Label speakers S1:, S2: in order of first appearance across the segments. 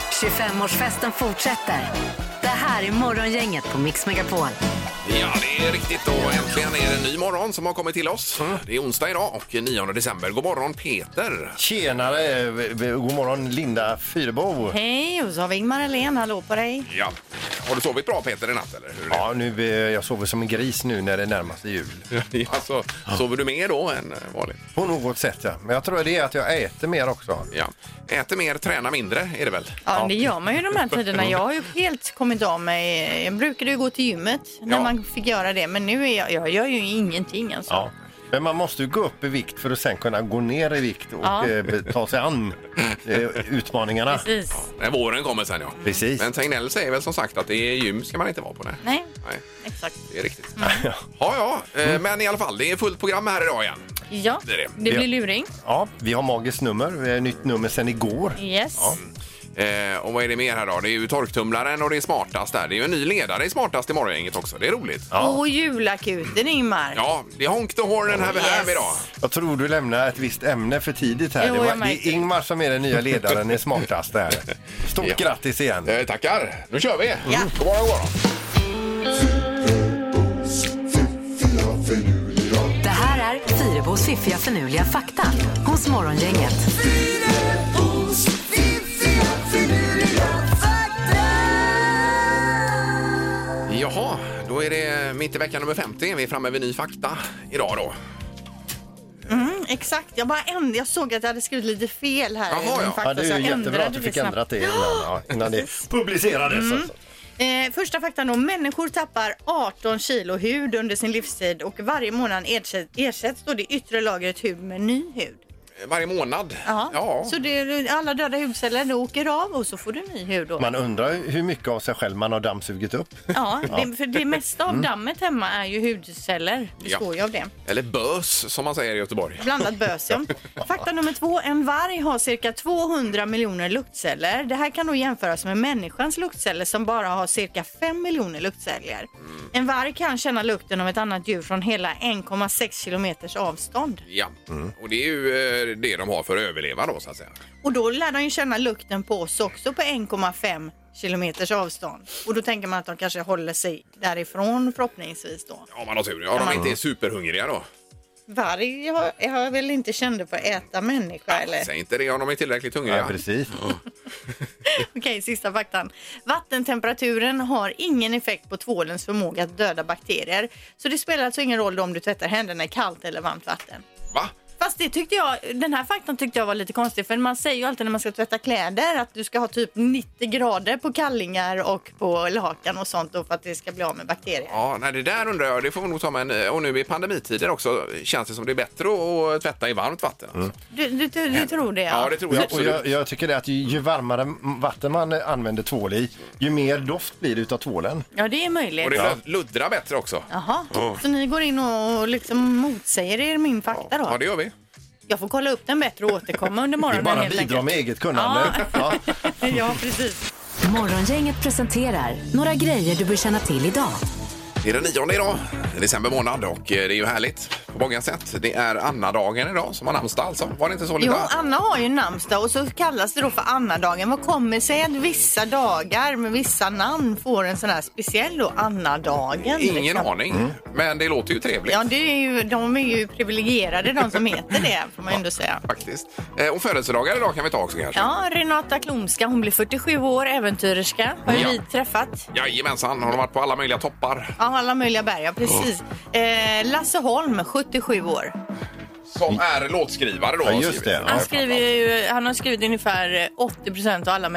S1: 25-årsfesten fortsätter. Det här är Morgongänget på Mix Megapol.
S2: Ja, det är riktigt. Och äntligen är det en ny morgon som har kommit till oss. Det är onsdag idag och 9 december. God morgon Peter!
S3: Tjenare! God morgon, Linda Fyrebo.
S4: Hej, och så har vi Ingmar Ahlén. Hallå på dig.
S2: Ja. Har du sovit bra Peter i natt eller? Hur är det?
S3: Ja, nu, eh, jag sover som en gris nu när det närmar sig jul.
S2: Alltså, sover du mer då än eh, vanligt?
S3: På något sätt, ja. Men jag tror det är att jag äter mer också.
S2: Ja. Äter mer, tränar mindre är det väl?
S4: Ja, det gör man ju de här tiderna. Jag har ju helt kommit av mig. Jag brukade ju gå till gymmet när
S2: Ja.
S4: man fick göra det, men nu är jag, jag gör ju ingenting alltså.
S3: Ja. Men man måste ju gå upp i vikt för att sen kunna gå ner i vikt och
S4: Ja.
S3: eh, ta sig an eh, utmaningarna.
S4: Precis.
S2: När våren kommer sen ja.
S3: Precis.
S2: Men Tegnell säger väl som sagt att det är gym ska man inte vara på. Nej.
S4: Nej,
S2: Nej,
S4: exakt.
S2: det är riktigt. Ja, ja. eh, Men i alla fall, det är fullt program här idag igen.
S4: Ja,
S2: Det är det.
S4: det blir luring.
S3: Ja, vi har magiskt nummer. eh, Nytt nummer sen igår.
S4: Yes.
S2: Eh, och vad är det mer här då? Det är ju torktumlaren och det är smartast där. Det är ju en ny ledare i smartast i morgongänget också. Det är roligt.
S4: Och julakuten, Ingmar.
S2: Ja, det är Honk the Horn den här yes. här idag.
S3: Jag tror du lämnar ett visst ämne för tidigt här.
S4: Jo,
S3: det, var,
S4: jag
S3: det är
S4: märker.
S3: Ingmar som är den nya ledaren i Smartast där. Stort
S2: Ja.
S3: grattis igen!
S2: Eh, tackar. Nu kör vi. Mm.
S4: Ja.
S2: God morgon, god morgon.
S1: Det här är Fyrebos fiffiga förnuliga fakta hos Morgongänget.
S2: Jaha, då är det mitt i vecka nummer 50. Vi är framme vid ny fakta idag då.
S4: Mm, Exakt. Jag bara änd- Jag såg att jag hade skrivit lite fel här.
S2: Jaha,
S4: i min
S2: ja.
S4: fakta,
S3: Ja, det är
S4: så jag
S3: ju jättebra
S4: ändrade
S3: att du
S4: det
S3: fick
S4: snabbt.
S3: ändrat det innan, ja, innan det publicerades. Alltså.
S4: Eh, första faktan då. Människor tappar 18 kilo hud under sin livstid och varje månad ersätts, ersätts då det yttre lagret hud med ny hud.
S2: Eh, Varje månad.
S4: Jaha.
S2: Ja.
S4: Så det, alla döda hudceller det åker av och så får du ny hud då.
S3: Man undrar ju hur mycket av sig själv man har dammsugit upp.
S4: Ja, det, för det mesta av dammet hemma är ju hudceller. Det
S2: Ja.
S4: står ju av det.
S2: Eller bös som man säger i Göteborg.
S4: Blandat bös, ja. Fakta nummer två. En varg har cirka 200 miljoner luktceller. Det här kan då jämföras med människans luktceller som bara har cirka 5 miljoner luktceller. En varg kan känna lukten av ett annat djur från hela 1,6 kilometers avstånd.
S2: Ja, och det är ju eh, det de har för att överleva då så att säga.
S4: Och då lär de ju känna lukten på oss också på 1,5 kilometers avstånd. Och då tänker man att de kanske håller sig därifrån förhoppningsvis då.
S2: Om man har tur. Ja, de
S4: man-
S2: inte är superhungriga då.
S4: Varg har, har väl inte kände på att äta människa eller?
S2: Säg inte det om de är tillräckligt hungriga.
S3: Ja, precis.
S4: Okej, sista faktan. Vattentemperaturen har ingen effekt på tvålens förmåga att döda bakterier. Så det spelar alltså ingen roll om du tvättar händerna i kallt eller varmt vatten.
S2: Va?
S4: Fast det tyckte jag, den här faktan tyckte jag var lite konstig för man säger ju alltid när man ska tvätta kläder att du ska ha typ 90 grader på kallingar och på lakan och sånt då för att det ska bli av med bakterier.
S2: Ja, nej, det där undrar jag. Det får vi nog ta med en... eh, Och nu i pandemitider också känns det som det är bättre att att tvätta i varmt vatten. alltså.
S4: Du, du, du, du tror det
S2: Ja, det tror jag
S3: Ja, och
S2: absolut.
S3: jag, jag tycker det att ju, ju varmare m- vatten man eh, använder tvål i, ju mer doft blir det utav tvålen.
S4: Ja, det är möjligt.
S2: Och det lud- luddrar bättre också.
S4: Jaha, så ni går in och liksom motsäger er min fakta då?
S2: Ja, det gör vi.
S4: Jag får kolla upp den bättre och återkomma under
S3: Det är
S4: morgonen
S3: bara
S4: helt
S3: bidra
S4: enkelt.
S3: med eget kunnande. Ja.
S4: ja, precis.
S1: Morgongänget presenterar några grejer du bör känna till idag.
S2: Det är den nionde idag, december månad och eh, det är ju härligt på många sätt. Det är Anna-dagen idag som har namnsdag alltså. Var det inte så
S4: Jo,
S2: Linda?
S4: Anna har ju namnsdag och så kallas det då för Annadagen. Vad kommer sig att vissa dagar med vissa namn får en sån här speciell då, Annadagen?
S2: Ingen
S4: liksom?
S2: aning,
S3: Mm.
S2: men det låter ju trevligt.
S4: Ja, det är ju, de är ju privilegierade de som heter det, får man ju ändå säga.
S2: Faktiskt. Eh, Och födelsedagar idag kan vi ta också kanske.
S4: Ja, Renata Klomska, hon blir 47 år, äventyrerska. Har ju
S2: Ja.
S4: vi träffat.
S2: Jajamensan, har de varit på alla möjliga toppar.
S4: Ja, alla möjliga berg, ja precis. Eh, Lasse Holm, 77 år.
S2: Som är låtskrivare då.
S3: Ja,
S2: har
S3: just
S2: skrivit.
S3: det.
S4: Han,
S3: Ja,
S4: skriver ju, han har skrivit ungefär 80 av alla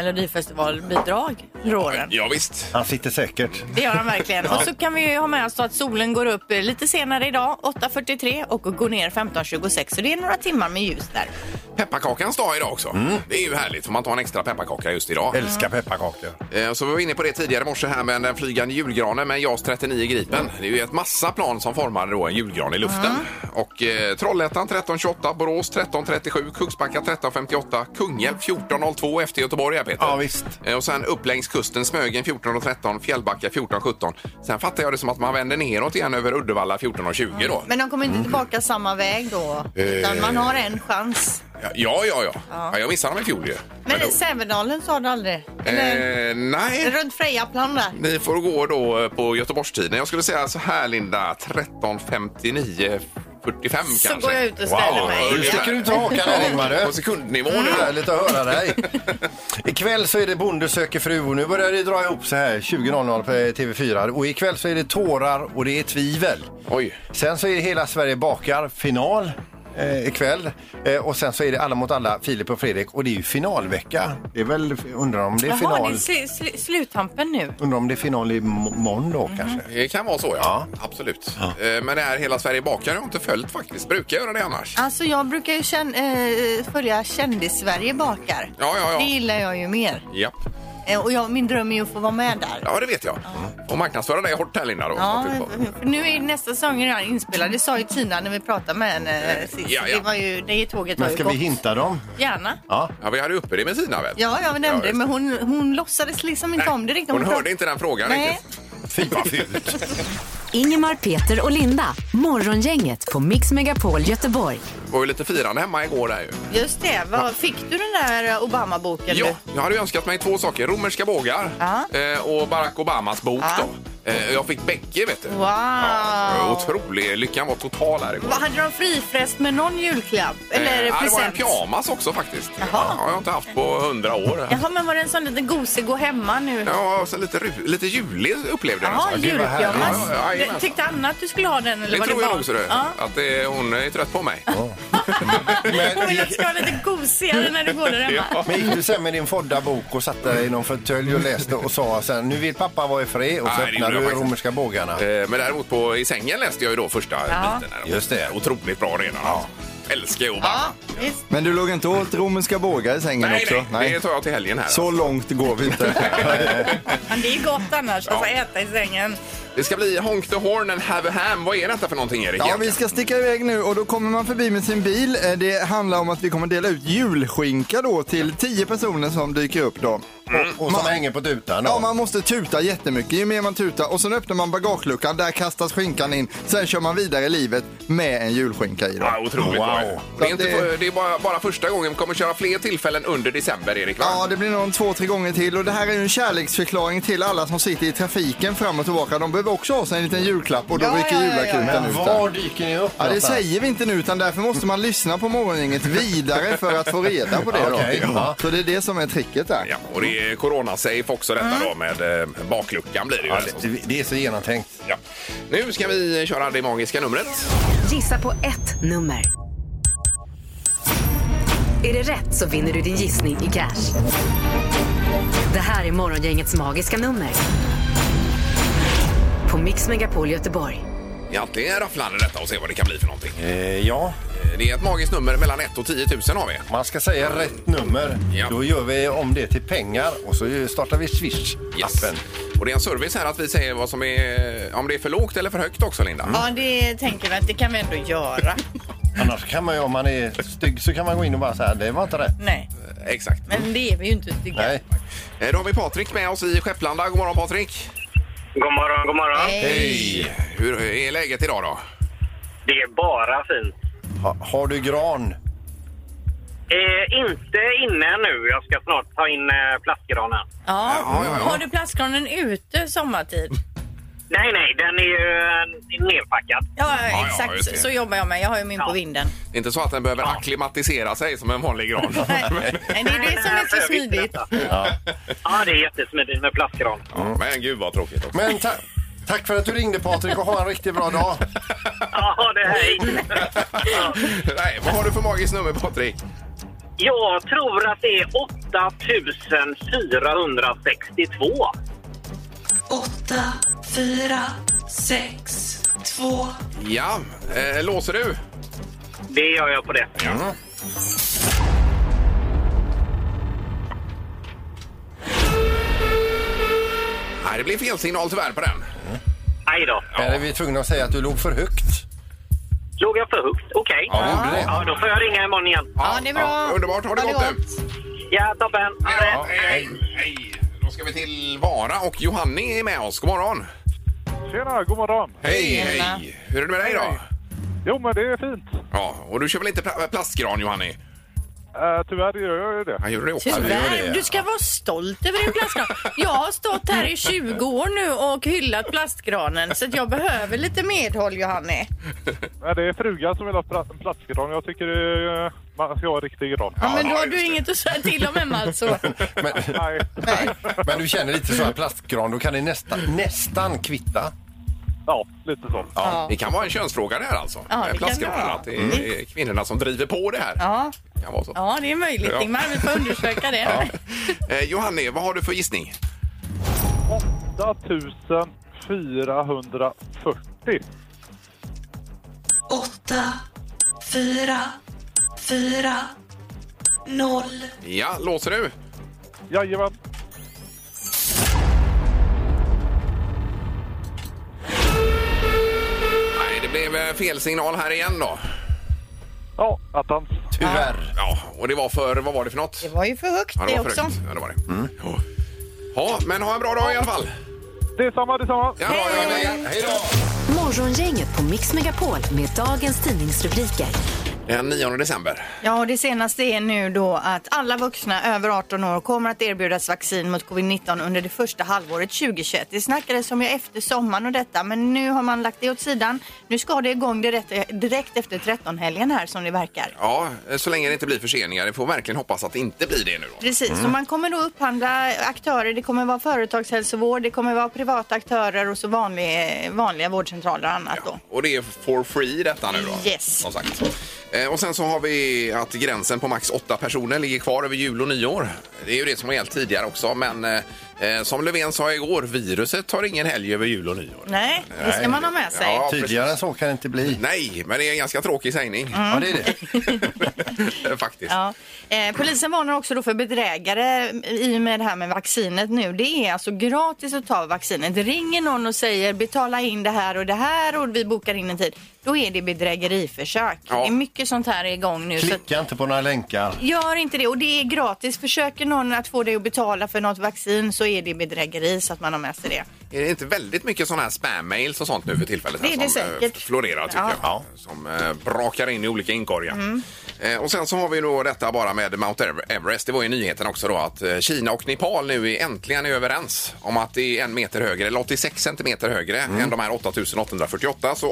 S4: Melodifestivalbidrag under åren.
S2: Ja, visst.
S3: Han sitter säkert.
S4: Det gör han verkligen. Och så kan vi ju ha med oss då att solen går upp eh, lite senare idag, 8.43 och går ner 15.26. Så det är några timmar med ljus där.
S2: Pepparkakans dag idag också.
S3: Mm.
S2: Det är ju härligt, för man tar en extra pepparkaka just idag.
S3: Älskar pepparkakor.
S2: Eh, Så vi var inne på det tidigare i morse här med den flygande julgranen med JAS 39 Gripen. Det är ju ett massa plan som formar då en julgran i luften. Och eh, Trollhättan Leksand 1328, Borås 1337, Kungsbacka 1358, Kungälv 1402 efter Göteborg här Peter.
S3: Ja, visst.
S2: Eh, Och sen upp längs kusten, Smögen 1413, Fjällbacka 1417. Sen fattar jag det som att man vänder neråt igen över Uddevalla 1420 då.
S4: Men de kommer inte tillbaka samma väg då? Utan man har en chans.
S2: Ja, ja, ja. ja. ja jag missade dem i fjol ju.
S4: Men
S2: då-
S4: i Sävedalen sa du aldrig? Eller
S2: eh, nej.
S4: runt Frejaplan där?
S2: Ni får gå då eh, på Göteborgstiden. Jag skulle säga så här Linda, 13.59, 45
S4: Så
S2: kanske.
S4: går jag ut och ställer
S2: Wow,
S4: mig.
S3: Nu
S2: ungefär.
S3: sticker du ut hakan här Ingmar. du.
S2: På sekundnivå nu.
S4: Mm.
S3: Det är härligt att höra dig. Ikväll så är det Bonde söker fru och nu börjar det dra ihop så här 20.00 på TV4. Och ikväll så är det tårar och det är tvivel.
S2: Oj.
S3: Sen så är det Hela Sverige bakar final eh, ikväll. Eh, och sen så är det Alla mot alla, Filip och Fredrik. Och det är ju finalvecka. Det är väl, undrar om det är
S4: Jaha,
S3: final.
S4: det är sl- sl- sluttampen nu.
S3: Undrar om det är final i må- måndag kanske.
S2: Det kan vara så, ja. Absolut. Eh, Men det här Hela Sverige bakar har jag inte följt faktiskt. Brukar jag göra det annars?
S4: Alltså jag brukar ju känn, eh, följa Kändis-Sverige bakar.
S2: Ja, ja, ja.
S4: Det gillar jag ju mer.
S2: Ja.
S4: Eh, och jag, min dröm är ju att få vara med där.
S2: ja, det vet jag. Och marknadsföra dig hårt här, Linda. Då.
S4: Mm. Ja, mm.
S2: Att du får-
S4: för nu är nästa säsong redan inspelad. Det sa ju Tina när vi pratade med henne eh, sist.
S2: Ja, ja.
S4: Det var ju, det tåget var
S3: Men
S4: ju
S3: ska
S4: gått.
S3: vi hinta dem?
S4: Gärna.
S3: Ja.
S2: ja, vi hade uppe det med Tina, väl?
S4: Ja, jag nämnde det,
S2: visst.
S4: men hon, hon låtsades liksom inte om det riktigt.
S2: Hon
S4: prat-
S2: hörde inte den frågan
S4: Nej.
S2: riktigt. Fy vad fult.
S1: Ingemar, Peter och Linda. Morgongänget på Mix Megapol Göteborg.
S2: Det var ju lite firande hemma igår där ju.
S4: Just det. Vad, fick du den där eh, Obama-boken?
S2: Ja,
S4: du?
S2: jag hade ju önskat mig två saker. Romerska bågar
S4: Ja.
S2: eh, och Barack Obamas bok.
S4: Ja.
S2: Då. Eh, jag fick bägge, vet du.
S4: Wow!
S2: Ja, otrolig. Lyckan var total här igår.
S4: Vad, hade de frifräst med någon julklapp? Eller
S2: Eh, ja, det var en
S4: present?
S2: pyjamas också faktiskt.
S4: Jaha.
S2: Ja, jag har inte haft på hundra år.
S4: Jaha, men var det en sån liten gosig gå hemma nu?
S2: Ja, och sen lite, ru- lite julig upplevde jag den
S4: Jaha,
S2: som.
S3: gud, vad
S4: julpyjamas.
S2: härligt. Ja, ja, jajamän.
S4: Det- Tyckte Anna att du skulle ha den? Eller
S2: Det
S4: var
S2: tror
S4: det
S2: jag
S4: barn?
S2: nog, ser du.
S4: Ja.
S2: Att det, hon är trött på mig.
S4: Hon vill att du ska vara lite gosigare när du går där hemma.
S2: Ja.
S3: Men gick du sen med din fodda bok och satte dig i någon fåtölj och läste och sa sen nu vill pappa vara i fred och så
S2: Nej, det
S3: öppnar
S2: gjorde jag
S3: du
S2: faktiskt.
S3: romerska bågarna.
S2: Eh, Men däremot på, i sängen läste jag ju då första
S4: Ja.
S2: biten. Här.
S3: Just det.
S2: Otroligt bra redan. Ja. Älskar ju Obama.
S4: Ja, visst.
S5: Men du låg inte åt romerska bågar i sängen
S2: Nej,
S5: också?
S2: nej, det tar jag till helgen här.
S5: Så långt går vi inte.
S4: Men det är gott annars att
S2: Ja. Mm.
S4: få äta i sängen.
S2: Det ska bli Honk the Horn and Have a Ham. Vad är detta för någonting, Erik?
S5: Ja, vi ska sticka iväg nu och då kommer man förbi med sin bil. Eh, Det handlar om att vi kommer dela ut julskinka då till tio personer som dyker upp då.
S2: Mm.
S3: Och som hänger på tutan. då.
S5: Ja, man måste tuta jättemycket. Ju mer man tutar och sen öppnar man bagageluckan, där kastas skinkan in. Sen kör man vidare i livet med en julskinka i
S2: Ja,
S5: då.
S2: otroligt
S3: Wow.
S2: bra. Det är,
S5: Så
S2: inte,
S5: det-
S2: för- det är bara, bara första gången. Vi kommer köra fler tillfällen under december, Erik. Va?
S5: Ja, det blir någon två, tre gånger till och det här är ju en kärleksförklaring till alla som sitter i trafiken fram och tillbaka. De behöver också ha sig en liten julklapp och då
S4: Ja,
S5: rycker
S4: ja, ja,
S5: julakuten
S4: ja,
S3: Men
S5: ut. där.
S3: var dyker ni upp
S5: Ja, det
S3: någonstans?
S5: säger vi inte nu, utan därför måste man lyssna på morgongänget vidare för att få reda på det. Då.
S3: Okej, ja.
S5: Så det är det som är tricket där.
S2: Ja, och det är coronasafe också detta då med eh, bakluckan blir det ju.
S3: Ja,
S2: alltså.
S3: det, det är så genomtänkt.
S2: Ja. Nu ska vi köra det magiska numret.
S1: Gissa på ett nummer. Är det rätt så vinner du din gissning i cash. Det här är Morgongängets magiska nummer. På Mix Megapol Göteborg.
S2: Det är alltid rafflande detta och se vad det kan bli för någonting.
S3: Eh, ja,
S2: Eh, Det är ett magiskt nummer mellan 1 och 10 000 har vi.
S3: man ska säga rätt nummer.
S2: Ja.
S3: Då gör vi om det till pengar och så startar vi
S2: Yes.
S3: Swish-appen.
S2: Och det är en service här att vi säger vad som är, om det är för lågt eller för högt också Linda.
S4: Ja, det tänker vi att det kan vi ändå göra.
S3: Annars kan man ju, om man är stygg så kan man gå in och bara säga det var inte rätt.
S4: Nej,
S2: Eh, Exakt.
S4: men det är vi ju inte tycker jag.
S3: Nej.
S2: Eh, Då har vi Patrik med oss i Skepplanda. God morgon Patrik!
S6: God morgon, god morgon.
S2: Hej! Hur är läget idag då?
S6: Det är bara fint.
S3: Ha, har du gran?
S6: Eh, inte inne nu. Jag ska snart ta in eh, plastgranen.
S4: Ja.
S2: Ja, ja, ja.
S4: Har du plastgranen ute sommartid?
S6: Nej, nej, den är ju eh, nedpackad.
S4: Ja,
S2: ja,
S4: exakt.
S2: just det.
S4: så jobbar jag med. Jag har ju min på
S6: Ja.
S4: vinden.
S2: Det är Inte så att den behöver akklimatisera sig som en vanlig gran.
S4: Nej, nej, det är det som är så smidigt.
S6: Ja. det är jättesmidigt med plastgran.
S2: Ja, Mm. Men gud vad tråkigt också.
S3: Men ta, tack för att du ringde Patrik och ha en riktigt bra dag.
S6: Ja, det här är...
S2: Nej, vad har du för magiskt nummer Patrik?
S6: Jag tror att det är 8462.
S7: 8, 4, 6, 2.
S2: Ja, eh, låser du?
S6: Det gör jag på det.
S3: Mm.
S2: Nej, det blev fel signal tyvärr på den.
S6: Aj då.
S3: Här är vi tvungna att säga att du låg för högt.
S6: Låg låg jag för högt. Okej.
S2: Ja, det gjorde det.
S6: Ja, då får jag ringa imorgon igen.
S4: Ja, det är bra.
S2: underbart. Ha det gott nu.
S6: Ja, toppen. Ha det.
S2: Ja, hej, hej. Då ska vi till Vara och Johanni är med oss. God morgon.
S8: Tjena, god morgon.
S2: Hej,
S4: Hej, Anna.
S2: hej. Hur är det med dig då?
S8: Jo, men det är fint.
S2: Ja, och du kör väl inte pla- plastgran Johanni?
S8: Uh, tyvärr gör jag ju det.
S2: Han gjorde det också.
S3: det.
S9: Tyvärr, du ska vara stolt över din plastgran. Jag har stått här i 20 år nu och hyllat plastgranen så att jag behöver lite medhåll Johanne.
S8: Men det är frugan som vill ha pla- plastgran. Jag tycker eh, man ska ha en riktig gran.
S9: Ja, men då
S2: ja,
S9: har
S2: just
S9: du
S2: det.
S9: inget att säga till om hemma alltså.
S3: Men,
S8: Nej,
S3: men du känner lite så här plastgran, då kan det nästan, nästan kvitta.
S8: ja, lite så.
S2: Ja, det kan vara en könsfråga det här alltså.
S9: Ja, det kan
S2: Plastgranen,
S9: det vara.
S2: att det är kvinnorna som driver på det här.
S9: Ja,
S2: Det kan vara så.
S9: ja det är möjligt
S2: Ja.
S9: Ingmar, vi får undersöka det.
S2: Eh, Johanni, vad har du för gissning?
S8: 8440.
S7: åtta, fyra, fyra, noll.
S2: Ja, låser du?
S8: Jajamän.
S2: Nej, det blev eh, fel signal här igen då.
S8: Ja, attans.
S3: Tyvärr.
S2: Ja, och det var för, vad var det för något?
S4: Det var ju för högt
S2: Ja,
S4: det
S2: var för
S4: också.
S2: högt. Ja, det var det. Ja. Ja, men ha en bra dag i alla fall.
S8: Detsamma, detsamma.
S2: Ja, ha det bra. Hej då!
S1: Morgongänget på Mix Megapol med dagens tidningsrubriker.
S2: Den 9 december.
S4: Ja, och det senaste är nu då att alla vuxna över 18 år kommer att erbjudas vaccin mot covid-19 under det första halvåret 2021. Det snackades om ju efter sommaren och detta, men nu har man lagt det åt sidan. Nu ska det igång direkt, direkt efter 13-helgen här som det verkar.
S2: Ja, så länge det inte blir förseningar. Vi får verkligen hoppas att det inte blir det nu då.
S4: Precis, så man kommer då upphandla aktörer. Det kommer vara företagshälsovård, det kommer vara privata aktörer och så vanliga, vanliga vårdcentraler och annat då.
S2: Och det är for free detta nu då?
S4: Yes.
S2: Som sagt. Eh, Och sen så har vi att gränsen på max åtta personer ligger kvar över jul och nyår. Det är ju det som har gällt tidigare också, men eh, eh, som Löfven sa igår, viruset har ingen helg över jul och nyår.
S4: Nej, det ska man ha med sig.
S2: Ja, Mm.
S3: Tydligare än så kan det inte bli.
S2: Nej, men det är en ganska tråkig sägning.
S3: Ja, det är det.
S2: Faktiskt.
S4: Mm. Ja. Eh, polisen varnar också då för bedrägare i och med det här med vaccinet nu. Det är alltså gratis att ta vaccinet. Ringer någon och säger betala in det här och det här och vi bokar in en tid. Då är det bedrägeriförsök.
S2: Ja.
S4: Det är mycket sånt här igång nu. Så att
S3: Klicka inte på några länkar.
S4: gör inte det och det är gratis. Försöker någon att få dig att betala för något vaccin så är det bedrägeri så att man har med sig det.
S2: Är det inte väldigt mycket sådana här spam-mails och sånt nu för tillfället?
S4: Det är
S2: här
S4: det
S2: som, eh,
S4: säkert.
S2: florerar tycker
S4: Ja. Mm.
S2: jag. Som eh, brakar in i olika inkorgar. Eh, och sen så har vi då detta bara med Mount Ever- Everest. Det var ju nyheten också då att eh, Kina och Nepal nu är äntligen är överens om att det är en meter högre, eller 86 centimeter högre än de här 8848. Så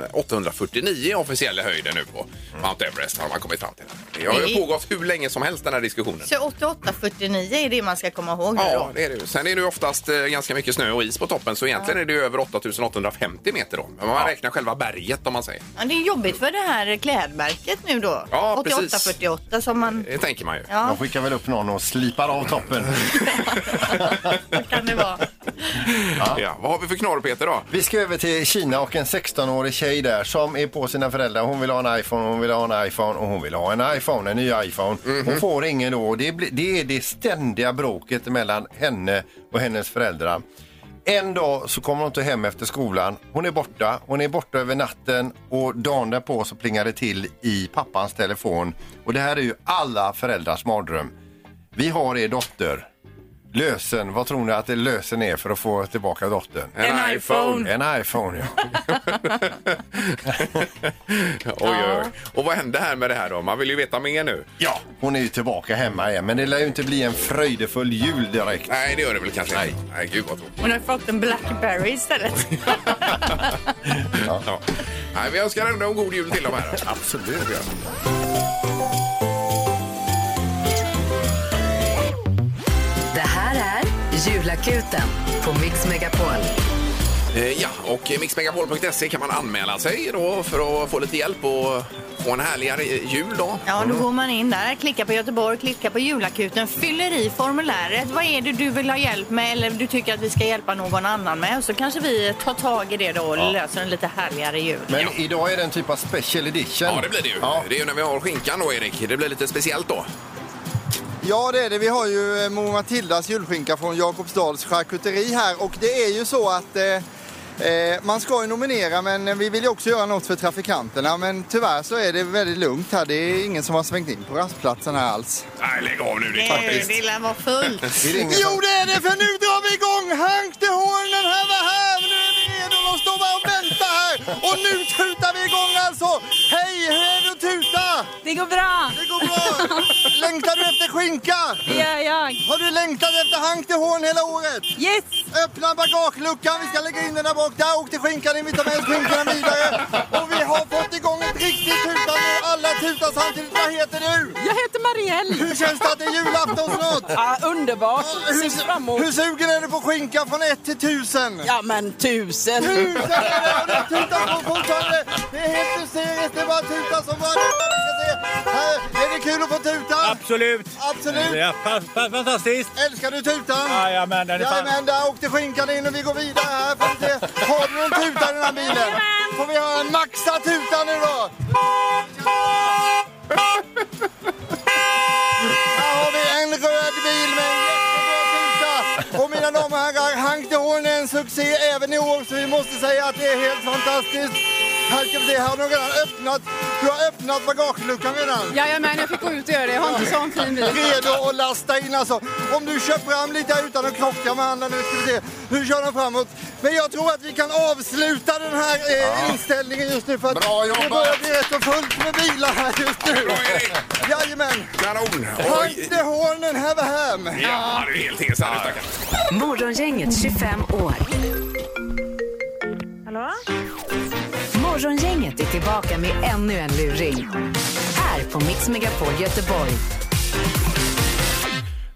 S2: 8849 är officiella höjden nu på Mount Everest har man kommit fram till. Det har ju
S4: Det är-
S2: pågått hur länge som helst den här diskussionen.
S4: Så 8849 är det man ska komma ihåg nu
S2: Ja,
S4: då.
S2: det är det. ju. Sen är det ju oftast eh, ganska mycket snö och is på toppen så egentligen är det ju över 8850 meter då. Men man räknar själva berget om man säger.
S4: Ja, det är jobbigt för det här klädmärket nu då.
S2: Ja, precis.
S4: 8848 som man...
S2: Det tänker man ju.
S4: Ja.
S3: De skickar väl upp någon och slipar av toppen.
S4: Vad kan det vara?
S2: Ja. Vad har vi för knorr Peter då?
S3: Vi ska över till Kina och en 16-årig tjej där som är på sina föräldrar. Hon vill ha en iPhone, hon vill ha en iPhone och hon vill ha en iPhone, en ny iPhone. Hon får ingen då. Det, blir- det är det ständiga bråket mellan henne och hennes föräldrar. En dag så kommer hon inte hem efter skolan. Hon är borta. Hon är borta över natten och dagen därpå så plingar det till i pappans telefon. Och det här är ju alla föräldrars mardröm. Vi har er dotter. Lösen, vad tror ni att det lösen är för att få tillbaka dottern?
S9: En iPhone.
S3: En iPhone, ja.
S2: Oj, oj, oj. Och vad hände här med det här då? Man vill ju veta mer nu.
S3: ja. Hon är ju tillbaka hemma igen, men det lär ju inte bli en fröjdefull jul direkt.
S2: Nej, det gör det väl kanske Nej. inte. Nej, gud vad tråkigt.
S9: Hon har fått en Blackberry istället.
S2: Ja. Nej, vi önskar ändå en god jul till dem här.
S3: Absolut.
S1: Det här är Julakuten på Mix Megapol.
S2: Eh, Ja, och mixmegapol.se kan man anmäla sig då för att få lite hjälp och få en härligare eh, jul då.
S4: Ja, då går man in där, klickar på Göteborg, klickar på julakuten, fyller i formuläret. Vad är det du vill ha hjälp med eller du tycker att vi ska hjälpa någon annan med? Och så kanske vi tar tag i det då och löser en lite härligare jul.
S3: Men idag är det en typ av special edition.
S2: Ja, det blir det ju.
S3: Ja.
S2: Det är ju när vi har skinkan då, Erik. Det blir lite speciellt då.
S5: Ja, det är det. Vi har ju eh, Mor Matildas julskinka från Jakobsdals charkuteri här och det är ju så att eh, Eh, man ska ju nominera men eh, vi vill ju också göra något för trafikanterna men tyvärr så är det väldigt lugnt här. Det är ingen som har svängt in på rastplatsen här alls.
S2: Nej, lägg av nu. Det är
S4: Nej,
S2: faktiskt...
S4: det lär vara fullt.
S3: Är det ingen
S5: Jo
S3: som...
S5: det är det för nu drar vi igång! Hank de Hornen här var här! Nu är vi redo! De står bara och väntar här! Och nu tutar vi igång alltså! Hej, hur är det att tuta?
S10: Det går bra!
S5: Det går bra! Längtar du efter skinka?
S10: Det gör jag!
S5: Har du längtat efter Hank de Horn hela året?
S10: Yes!
S5: Öppna bagageluckan, vi ska lägga in den där bak. Där åkte skinkan in, vi tar med skinkorna vidare. Och vi har fått igång ett riktigt tuta nu. Alla tutar samtidigt. Vad heter du?
S10: Jag heter Marielle!
S5: Hur känns det att det är julafton snart?
S10: Ja, underbart! Ser fram emot!
S5: Ah, Hur, hur sugen är du på skinka från 1 till 1000?
S10: Ja men tusen!
S5: Tusen är det och det tutar på fortfarande. Det är helt hysteriskt, det är bara tuta som bara detta vi ska se. Här, Är det kul att få tuta?
S8: Absolut!
S5: Absolut.
S8: fantastiskt!
S5: Älskar du tutan?
S8: Jajamän, den
S5: Jajamän, där åkte skinkan in och vi går vidare här. Får vi se. Har du någon tuta i den här bilen? Får vi höra en maxa tuta nu då? Här har vi en röd bil med en jättebra tuta. Och mina damer och herrar, Hank de Horn är en succé även i år så vi måste säga att det är helt fantastiskt. Här ska vi se, här har någon redan öppnat. Du har öppnat bagageluckan redan
S10: Jajamän, jag fick gå ut och göra det. Jag har inte sån fin bil.
S5: redo att lasta in alltså. Om du kör fram lite här utan att krocka med andra nu ska vi se. Nu kör de framåt. Men jag tror att vi kan avsluta den här eh, inställningen just nu för att
S2: Bra
S5: det
S2: jobbat!
S5: börjar bli rätt och fullt med bilar här just nu.
S2: Bra, Erik!
S5: Jajamän!
S2: Kanon!
S5: Hunt
S2: Oj.
S5: the horn and have a ham!
S2: Ja, det är helt hinsande. Ja.
S1: Morgongänget 25 år.
S4: Hallå?
S1: Morgongänget är tillbaka med ännu en luring. Här på Mix Megapol Göteborg.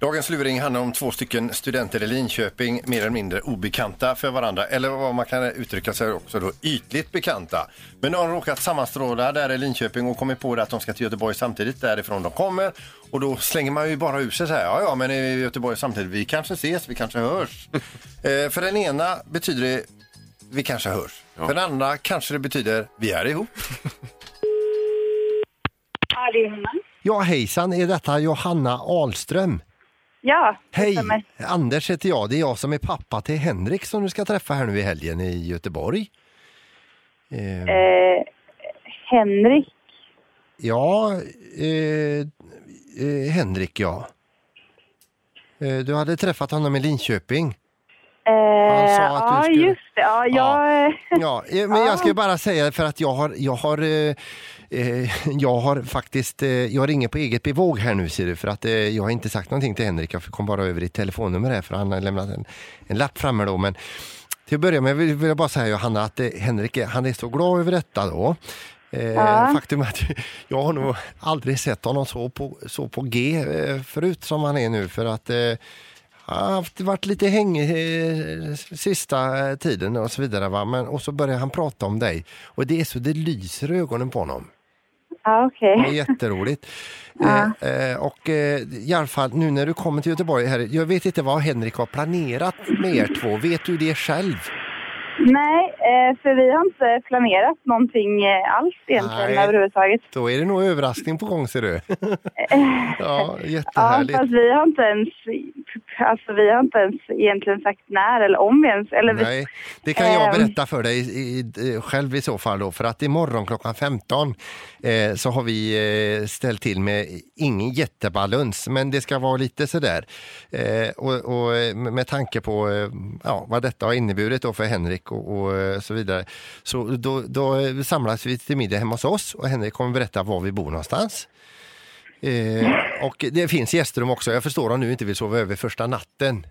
S3: Dagens luring handlar om två stycken studenter i Linköping, mer eller mindre obekanta för varandra, eller vad man kan uttrycka sig också då, ytligt bekanta. Men de har råkat sammanstråla där i Linköping och kommit på det att de ska till Göteborg samtidigt, därifrån de kommer. Och då slänger man ju bara ur sig så här, ja ja men är vi i Göteborg samtidigt, vi kanske ses, vi kanske hörs. eh, för den ena betyder det, vi kanske hörs. För den andra kanske det betyder, vi är ihop.
S10: Ja, det är honom.
S3: Ja hejsan, är detta Johanna Ahlström?
S10: Ja,
S3: Hej! Anders heter jag. Det är jag som är pappa till Henrik som du ska träffa här nu i helgen i Göteborg. Eh,
S10: eh, Henrik.
S3: Ja, eh, eh, Henrik ja. Eh, du hade träffat honom i Linköping. Han sa att du
S10: Eh, ja,
S3: skulle-
S10: just det. Ja,
S3: Ja.
S10: jag...
S3: Ja, eh, men jag ska ju bara säga för att jag har, jag har, eh, eh, jag har faktiskt, eh, jag ringer på eget bevåg här nu ser du för att eh, jag har inte sagt någonting till Henrik. Jag kom bara över ditt telefonnummer här för han har lämnat en, en lapp framme då. Men till att börja med vill, vill jag bara säga Johanna att eh, Henrik är, han är så glad över detta då. Eh, Faktum är att jag har nog aldrig sett honom så på, så på G eh, förut som han är nu för att eh, han har haft, varit lite häng eh, sista eh, tiden och så vidare. Va? Men, och så börjar han prata om dig. Och det är så det lyser i ögonen på honom.
S10: Ja, okej.
S3: Det är jätteroligt. Eh, eh, och eh, i alla fall nu när du kommer till Göteborg här. Jag vet inte vad Henrik har planerat med er två. Vet du det själv?
S10: Nej, eh, för vi har inte planerat någonting eh, alls egentligen
S3: Nej.
S10: överhuvudtaget.
S3: Då är det nog överraskning på gång ser du. ja,
S10: Ja,
S3: jättehärligt.
S10: fast vi har inte ens... Alltså vi har inte ens egentligen sagt när eller om vi ens... Eller vi-
S3: Nej, det kan jag
S10: Ehm.
S3: berätta för dig i, i, själv i så fall då, för att imorgon klockan 15 eh, så har vi eh, ställt till med ingen jättebalans, men det ska vara lite sådär. Eh, och, och eh, med tanke på eh, ja, vad detta har inneburit då för Henrik och, och eh, så vidare, så då, då eh, samlas vi till middag hemma hos oss och Henrik kommer berätta var vi bor någonstans. Eh, och det finns gästrum också. Jag förstår om du inte vill sova över första natten.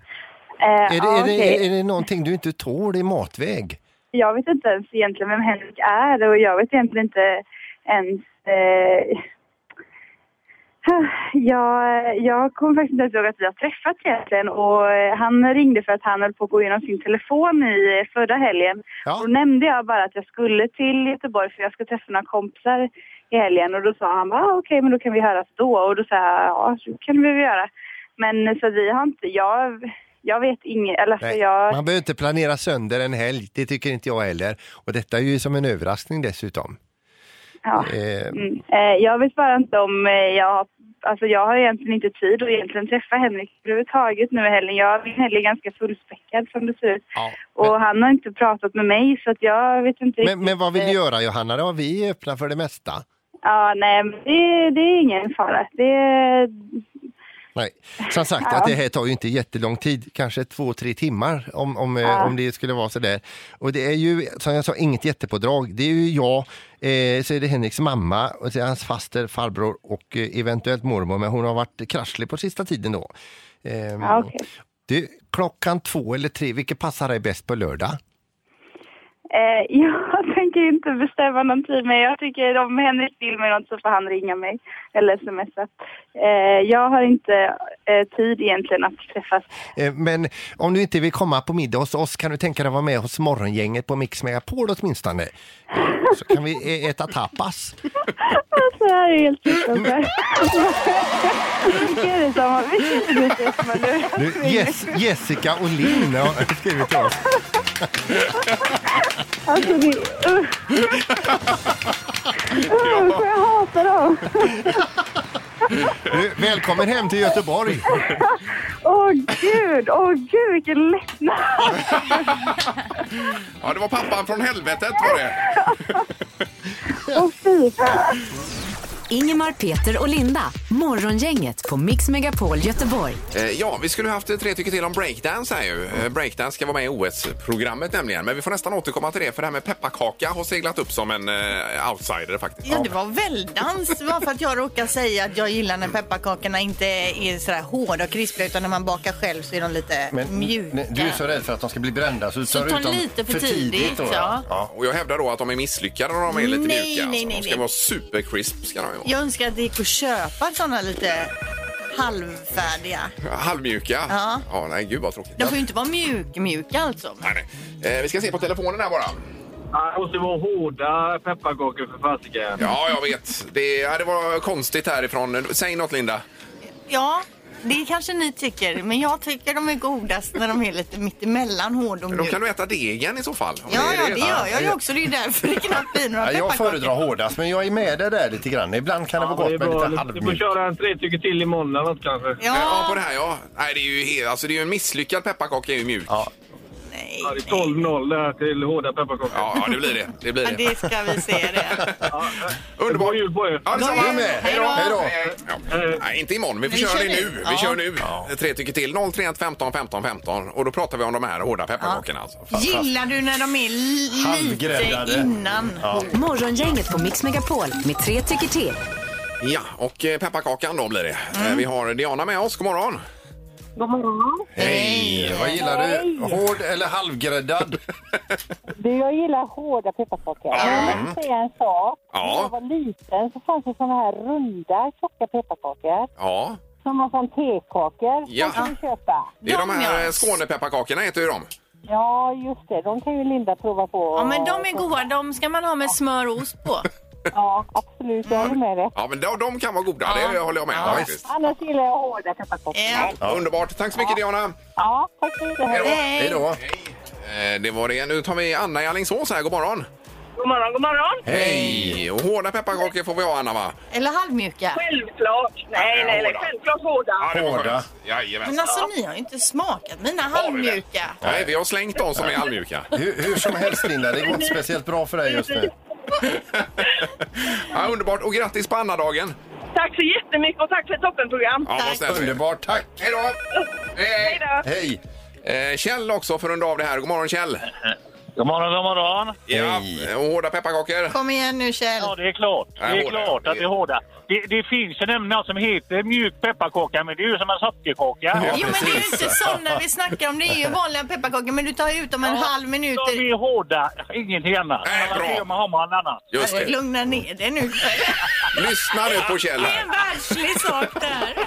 S10: eh,
S3: Är det,
S10: ja,
S3: är,
S10: okej.
S3: det, är det någonting du inte tål i matväg?
S10: Jag vet inte ens egentligen vem Henrik är och jag vet egentligen inte ens... Eh, jag, jag kommer faktiskt inte ens ihåg att vi har träffats egentligen och eh, han ringde för att han höll på att gå igenom sin telefon i eh, förra helgen.
S3: Ja.
S10: Då nämnde jag bara att jag skulle till Göteborg för jag ska träffa några kompisar i helgen och då sa han bara ah, okej men då kan vi höras då och då sa jag ja så kan vi väl göra. Men eh, så vi har inte, jag, jag vet inget, eller alltså
S3: Nej,
S10: jag...
S3: Man behöver inte planera sönder en helg, det tycker inte jag heller. Och detta är ju som en överraskning dessutom.
S10: Ja.
S3: Eh,
S10: Mm. Eh, Jag vet bara inte om eh, jag har alltså jag har egentligen inte tid att egentligen träffa Henrik överhuvudtaget nu i helgen. Jag min helg är ganska fullspäckad som det ser ut. Och han har inte pratat med mig så att jag vet inte
S11: Men, men vad vill du göra Johanna då? Vi är öppna för det mesta.
S10: Ja, nej, men det, det är ingen fara. Det,
S11: Nej. Som sagt,
S10: Ja.
S11: att det här tar ju inte jättelång tid, kanske två, tre timmar om, om, eh,
S10: Ja.
S11: om det skulle vara sådär. Och det är ju, som jag sa, inget jättepådrag. Det är ju jag, eh, så är det Henriks mamma, och så är det hans faster, farbror och eh, eventuellt mormor, men hon har varit krasslig på sista tiden då. Ehm,
S10: Ja, okej.
S11: du, klockan två eller tre, vilket passar dig bäst på lördag?
S10: eh, jag tänker inte bestämma någon tid, men jag tycker om Henrik vill mig något så får han ringa mig eller smsa. Eh, jag har inte eh, tid egentligen att träffas.
S11: Eh, Men om du inte vill komma på middag hos oss kan du tänka dig att vara med hos morgongänget på Mix Megapol åtminstone. Eh, Så kan vi eh, äta tapas.
S10: Alltså, det här är helt fruktansvärt. Vilka är det som har... Vilka är det som har...
S11: Nu, Jes- Jessica och Linn har skrivit till oss.
S10: Alltså, det... Uh. Usch, jag hatar dem.
S11: Du, välkommen hem till Göteborg.
S10: Åh, gud. Åh, gud, vilken lättnad.
S2: Ja, det var pappan från helvetet var det.
S10: Åh, fy fan.
S1: Ingemar, Peter och Linda. Morgongänget på Mix Megapol Göteborg.
S2: Eh, Ja, vi skulle haft tre tycker till om breakdance här ju. Eh, Breakdance ska vara med i OS-programmet nämligen. Men vi får nästan återkomma till det för det här med pepparkaka har seglat upp som en eh, outsider faktiskt.
S4: Ja, det var väldans. Bara för att jag råkar säga att jag gillar när pepparkakorna inte är sådär hårda och krispiga utan när man bakar själv så är de lite mjuka.
S3: nej, Du är så rädd för att de ska bli brända så du
S4: Så
S3: tar
S4: ta
S3: ut dem
S4: lite för tidigt,
S3: då,
S4: ja.
S2: Ja, och jag hävdar då att de är misslyckade när de är lite
S4: Nej,
S2: mjuka.
S4: nej,
S2: alltså.
S4: nej,
S2: de ska
S4: nej.
S2: vara supercrisp. Ska de ju vara.
S4: Jag önskar att det gick att köpa sådana lite halvfärdiga.
S2: Halvmjuka.
S4: Ja.
S2: ja, nej gud vad tråkigt.
S4: De får ju inte vara mjuk-mjuka alltså.
S2: Eh, vi ska se på telefonen här bara.
S12: Det måste vara hårda pepparkakor för fasiken.
S2: Ja, jag vet. Det, ja, det var konstigt härifrån. Säg något Linda.
S4: Ja, det kanske ni tycker, men jag tycker de är godast när de är lite mittemellan hård och
S2: Men då
S4: mjuk.
S2: kan du äta degen i så fall. Om
S4: Ja, ja, det gör jag ju
S3: ja.
S4: också. Det är ju därför det knappt blir några
S3: Ja, jag
S4: pepparkakor.
S3: föredrar hårdast, men jag är med dig där lite grann. Ibland kan det vara gott med lite
S12: Du får
S3: halvmjukt.
S12: köra en tre tycker till i måndag något kanske.
S2: Ja. på det här ja. Nej, det är ju, he- alltså, det är ju en misslyckad pepparkaka är ju mjuk. Ja.
S4: Nej.
S12: Ja, det är 12-0 det här till hårda pepparkakor.
S2: Ja, ja, det blir det. Det blir det.
S4: Ja, det ska vi se det.
S2: Underbart.
S12: God jul på er.
S2: Ja, detsamma.
S4: God jul. Hej då.
S2: Hej då. Ja. Nej, inte imorgon. Vi får
S4: Nej,
S2: köra
S4: vi
S2: det
S4: kör
S2: nu.
S4: nu.
S2: Vi
S4: Ja.
S2: kör nu. Eh, Tre tycker till. 031 15 15 15. Och då pratar vi om de här hårda pepparkakorna. Alltså.
S4: Gillar du när de är li-
S2: Halvgräddade.
S4: lite innan?
S2: Ja.
S1: Morgongänget på Mix Megapol med tre tycker till.
S2: Ja, och eh, pepparkakan då blir det. Eh, Vi har Diana med oss. God morgon.
S13: God morgon.
S3: Hej! Vad gillar du? Hård eller halvgräddad?
S13: Du, jag gillar hårda pepparkakor.
S3: Ja.
S13: Men Jag måste säga en sak.
S3: Ja.
S13: När jag var liten så fanns det såna här runda, tjocka pepparkakor.
S2: Ja.
S13: Som var som tekakor.
S2: Ja.
S13: Ja. kan du köpa.
S2: Det är de här eh, Skånepepparkakorna heter ju de.
S13: Ja, just det. De kan ju Linda prova på.
S9: Ja, men de är goda. De ska man ha med smör och ost på.
S13: Ja, absolut. Jag håller med dig.
S2: Ja, men de, de kan vara goda. Det håller jag med om faktiskt.
S13: Annars gillar jag hårda pepparkakor.
S4: Eh,
S2: Ja, Underbart. Tack så mycket Diana.
S13: Ja, tack så mycket.
S2: Hej då. Eh, Det var det. Nu tar vi Anna i Alingsås här. God morgon.
S14: God morgon, god morgon.
S2: Hej! Och hårda pepparkakor får vi ha Anna va?
S4: Eller halvmjuka?
S14: Självklart. Nej, nej, nej. Självklart hårda.
S2: Hårda. Jajamän.
S4: Men alltså ni har ju inte smakat mina halvmjuka.
S2: Nej, vi har slängt de som är allmjuka.
S3: Hur, hur som helst Linda, det går inte speciellt bra för dig just nu.
S2: Ja, underbart. Och grattis på Anna-dagen.
S14: Tack så jättemycket och tack för ett toppenprogram.
S2: Ja, vad snällt.
S3: Underbart, tack!
S2: Hej då!
S14: Hej då.
S3: Hej!
S2: Eh, Kjell också för att runda av det här. God morgon Kjell!
S12: God morgon, god morgon!
S2: Ja, och hårda pepparkakor.
S4: Kom igen nu Kjell.
S12: Ja, det är klart. Det
S2: Nej,
S12: är
S2: hårda.
S12: klart att det är hårda. Det, det finns ju nämligen något som heter mjuk pepparkaka, men det är ju som en sockerkaka.
S4: Jo, men det är ju inte sådana vi snackar om. Det är ju vanliga pepparkakor, men du tar ju ut dem en halv minut.
S12: De är hårda, ingenting annat. Annars gör man har man annat.
S2: Just det.
S4: Lugna ner dig nu.
S2: Lyssna nu på Kjell här.
S4: Världslig sak där.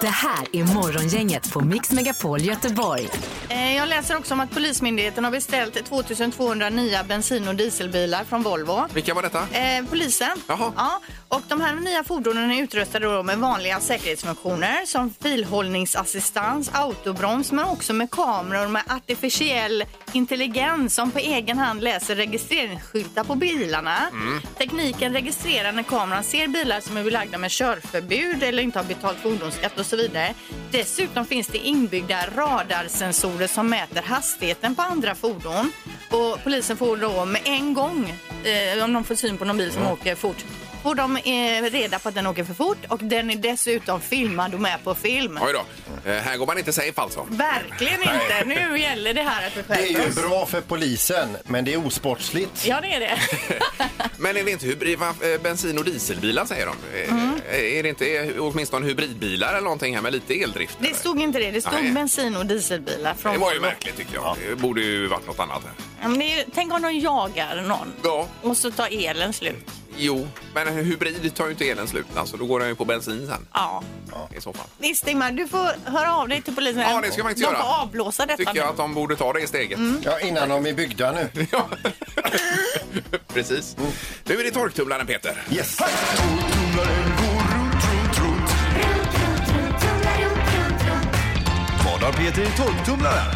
S1: Det här är Morgongänget på Mix Megapol Göteborg.
S4: Eh, Jag läser också om att Polismyndigheten har beställt 2200 nya bensin och dieselbilar från Volvo.
S2: Vilka var detta?
S4: Eh, polisen. Ja, och de här nya fordonen är utrustade då med vanliga säkerhetsfunktioner som filhållningsassistans, autobroms men också med kameror med artificiell intelligens som på egen hand läser registreringsskyltar på bilarna.
S15: Mm.
S4: Tekniken registrerar när kameran ser fler bilar som är belagda med körförbud eller inte har betalt fordonsskatt och så vidare. Dessutom finns det inbyggda radarsensorer som mäter hastigheten på andra fordon. Och polisen får då med en gång, eh, om de får syn på någon bil som
S2: Mm.
S4: åker fort, får de eh, reda på att den åker för fort och den är dessutom filmad och med på film.
S2: Oj då. Eh, här går man inte safe alltså.
S4: Verkligen inte. Nu gäller det här att vi
S3: Det
S4: skärper
S3: är ju
S4: oss.
S3: bra för polisen, men det är osportsligt.
S4: Ja, det är det.
S2: Men är det inte hybrid, va, eh, bensin och dieselbilar säger de? Eh, Är det inte eh, åtminstone hybridbilar eller någonting här med lite eldrift?
S4: Det stod inte det. Det stod
S2: Nej.
S4: bensin och dieselbilar. Från
S2: Det var ju
S4: Volvo.
S2: märkligt tycker jag. Det borde ju varit något annat. här.
S4: Ja, men det är, tänk om de jagar någon och så tar elen slut.
S2: Jo, men en hybrid tar ju inte elen slut. Alltså, då går den ju på bensin sen.
S4: Ja.
S2: I så fall.
S4: Visst, Ingmar, du får höra av dig till polisen.
S2: Ja, det ska jag faktiskt
S4: de
S2: göra.
S4: får avblåsa detta
S2: Tycker
S4: nu.
S2: jag att de borde ta det steget.
S3: Ja, innan de är byggda nu.
S2: Precis. Nu är det torktumlaren, Peter.
S3: Yes.
S10: Vad har Peter i torktumlaren?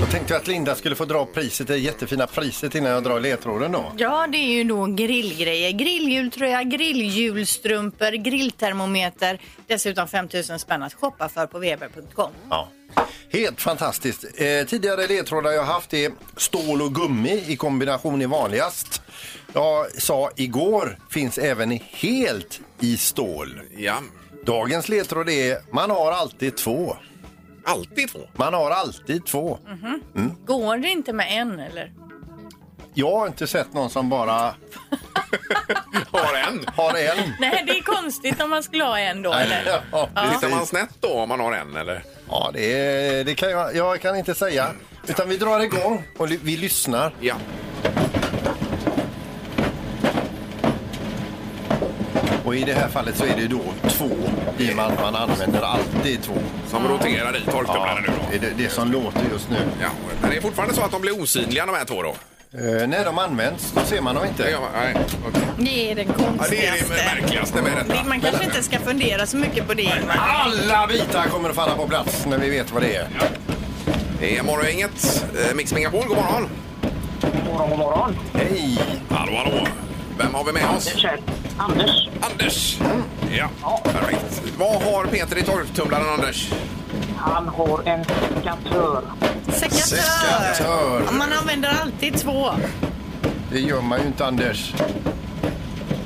S3: Jag tänkte att Linda skulle få dra priset, det jättefina priset innan jag drar ledtråden då.
S4: Ja, det är ju då grillgrejer. Grillhjultröja, grillhjulstrumpor, grilltermometer. Dessutom 5 000 spänn att shoppa för på weber.com.
S3: Ja. Helt fantastiskt. Eh, tidigare ledtrådar jag haft är stål och gummi i kombination är vanligast. Jag sa igår finns även helt i stål.
S2: Ja.
S3: Dagens ledtråd är man har alltid två.
S2: Alltid två?
S3: Man har alltid två.
S4: Mhm.
S3: Mm.
S4: Går det inte med en eller?
S3: Jag har inte sett någon som bara...
S2: har en?
S3: Har en.
S4: Nej, det är konstigt om man skulle ha en då. Eller?
S3: Ja,
S2: Tittar man snett då om man har en eller?
S3: Ja, det, är- det kan jag, jag kan inte säga. Utan vi drar igång och ly- vi lyssnar.
S2: Ja.
S3: Och i det här fallet så är det då två i och med att man använder alltid två.
S2: Som roterar i torktumlaren
S3: nu då? Det är det, det som låter just nu.
S2: Ja, men det är fortfarande så att de blir osynliga de här två då?
S3: Eh, när de används, då ser man dem inte.
S2: Ja, nej, okej.
S4: Det är det
S2: Ja, det är det
S4: konstigaste.
S2: märkligaste med detta.
S4: Man kanske inte ska fundera så mycket på det. Ingmar.
S3: Alla bitar kommer att falla på plats när vi vet vad det är.
S2: Det är Morgongänget, eh, Mix Megapol, god morgon! God morgon, god morgon!
S3: Hej!
S2: Hallå, hallå! Vem har vi med oss?
S6: Anders.
S2: Anders! Ja, perfekt. Vad har Peter i torktumlaren, Anders?
S6: Han har en sekatör.
S3: Sekatör.
S4: Ja, Man använder alltid två.
S3: Det gör man ju inte, Anders.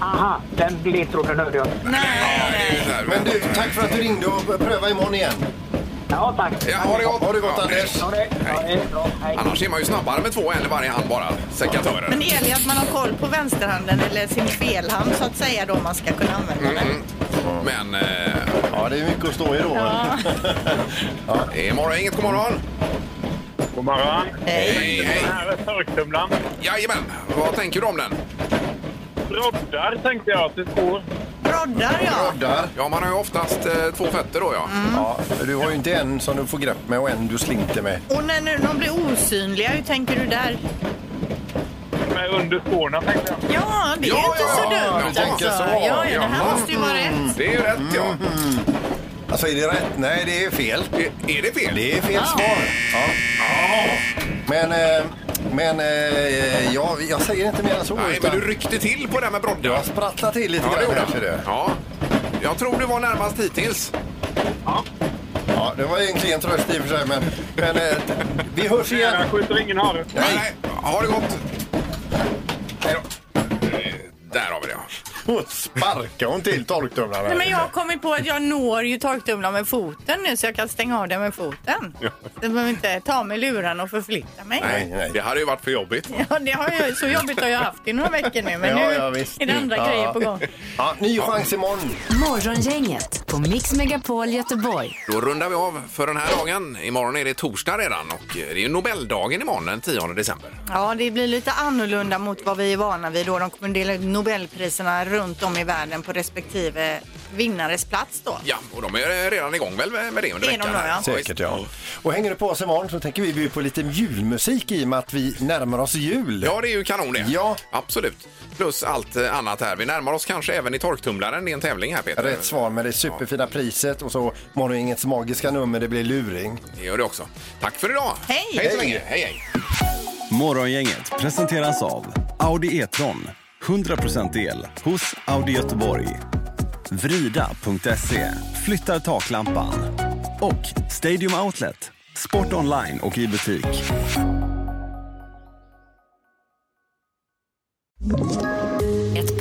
S6: Aha, den ledtråden hörde jag.
S3: Men du, tack för att du ringde och pröva imorgon igen.
S6: Ja, tack.
S2: Ja, ha det gott!
S3: Ha det gott,
S2: Ja,
S3: Anders.
S2: hej. Annars är man ju snabbare med två än i varje hand bara. Sekatörer.
S4: Men det gäller ju att man har koll på vänsterhanden eller sin felhand så att säga då om man ska kunna använda den.
S2: Mm. Men... Eh...
S3: Ja, det är mycket att stå i då.
S4: Ja.
S2: Ja. Det är Morgongänget, god morgon!
S8: God morgon!
S2: Hej, hej!
S8: Här är torktumlaren.
S2: Jajamän, vad tänker du om den?
S8: Roddar tänkte jag till skor.
S4: Roddar,
S3: Roddar.
S2: Ja, man har ju oftast eh, två fötter då, ja.
S3: Ja, för du har ju inte en som du får grepp med och en du slinter med.
S4: Och när nu de blir osynliga, hur tänker du där?
S8: Med under skorna tänkte jag.
S4: Ja, det är
S8: Ja,
S4: ju inte
S8: ja,
S4: så
S8: ja,
S4: dumt.
S8: du tänker
S4: alltså.
S8: så.
S4: Ja, ja, det här
S8: Ja.
S4: måste ju vara rätt.
S2: Det är ju rätt, ja.
S3: Alltså, är det rätt? Nej, det är fel.
S2: Är, det fel?
S3: Det är fel
S2: Ah.
S3: svar. Ja. Men, eh, men eh, jag, jag säger inte mer än så.
S2: Nej, men du ryckte till på det här med brodden. Jag
S3: sprattlar till lite
S2: ja,
S3: grann här,
S2: det
S3: ser
S2: gjorde Ja, jag tror du var närmast hittills.
S3: Ja, det var ju en klen tröst i och för sig, men, men eh, vi hörs igen. Jag
S8: skjuter ingen har du.
S2: Nej. Ha det gott! Där har vi det,
S3: Hon sparkar hon till torktumlaren.
S4: Nej, men jag har kommit på att jag når ju torktumlaren med foten nu så jag kan stänga av den med foten.
S2: ja.
S4: Jag behöver inte ta med luran och förflytta mig.
S2: Nej, det hade ju varit för jobbigt.
S4: Ja, det har jag, så jobbigt har jag haft i några veckor nu men
S3: Ja,
S4: nu
S3: ja, visst.
S4: är det andra
S3: Ja.
S4: grejer på gång.
S3: Ja, ny chans imorgon.
S1: Morgongänget på Mix Megapol Göteborg.
S2: Då rundar vi av för den här dagen. Imorgon är det torsdag redan och det är ju Nobeldagen imorgon den 10 december.
S4: Ja, det blir lite annorlunda mot vad vi är vana vid då. De kommer dela ut Nobelpriserna runt om i världen på respektive vinnares plats då.
S2: Ja, och de är redan igång väl med det under
S4: Det är de
S2: veckan?
S4: då,
S2: här.
S4: ja.
S3: Säkert ja. Och hänger du på oss imorgon så tänker vi bjuda på lite julmusik i och med att vi närmar oss jul.
S2: Ja, det är ju kanon det.
S3: Ja.
S2: Absolut. Plus allt eh, annat här. Vi närmar oss kanske även i torktumlaren. Det är en tävling här Peter.
S3: Rätt svar med det superfina priset och så morgongängets magiska nummer, det blir luring.
S2: Det gör det också. Tack för idag!
S4: Hej!
S2: Hej så länge! Hej, hej!
S10: Morgongänget presenteras av Audi E-tron. 100% el hos Audi Göteborg. Vrida.se flyttar taklampan. Och Stadium Outlet, sport online och i butik.
S1: Ett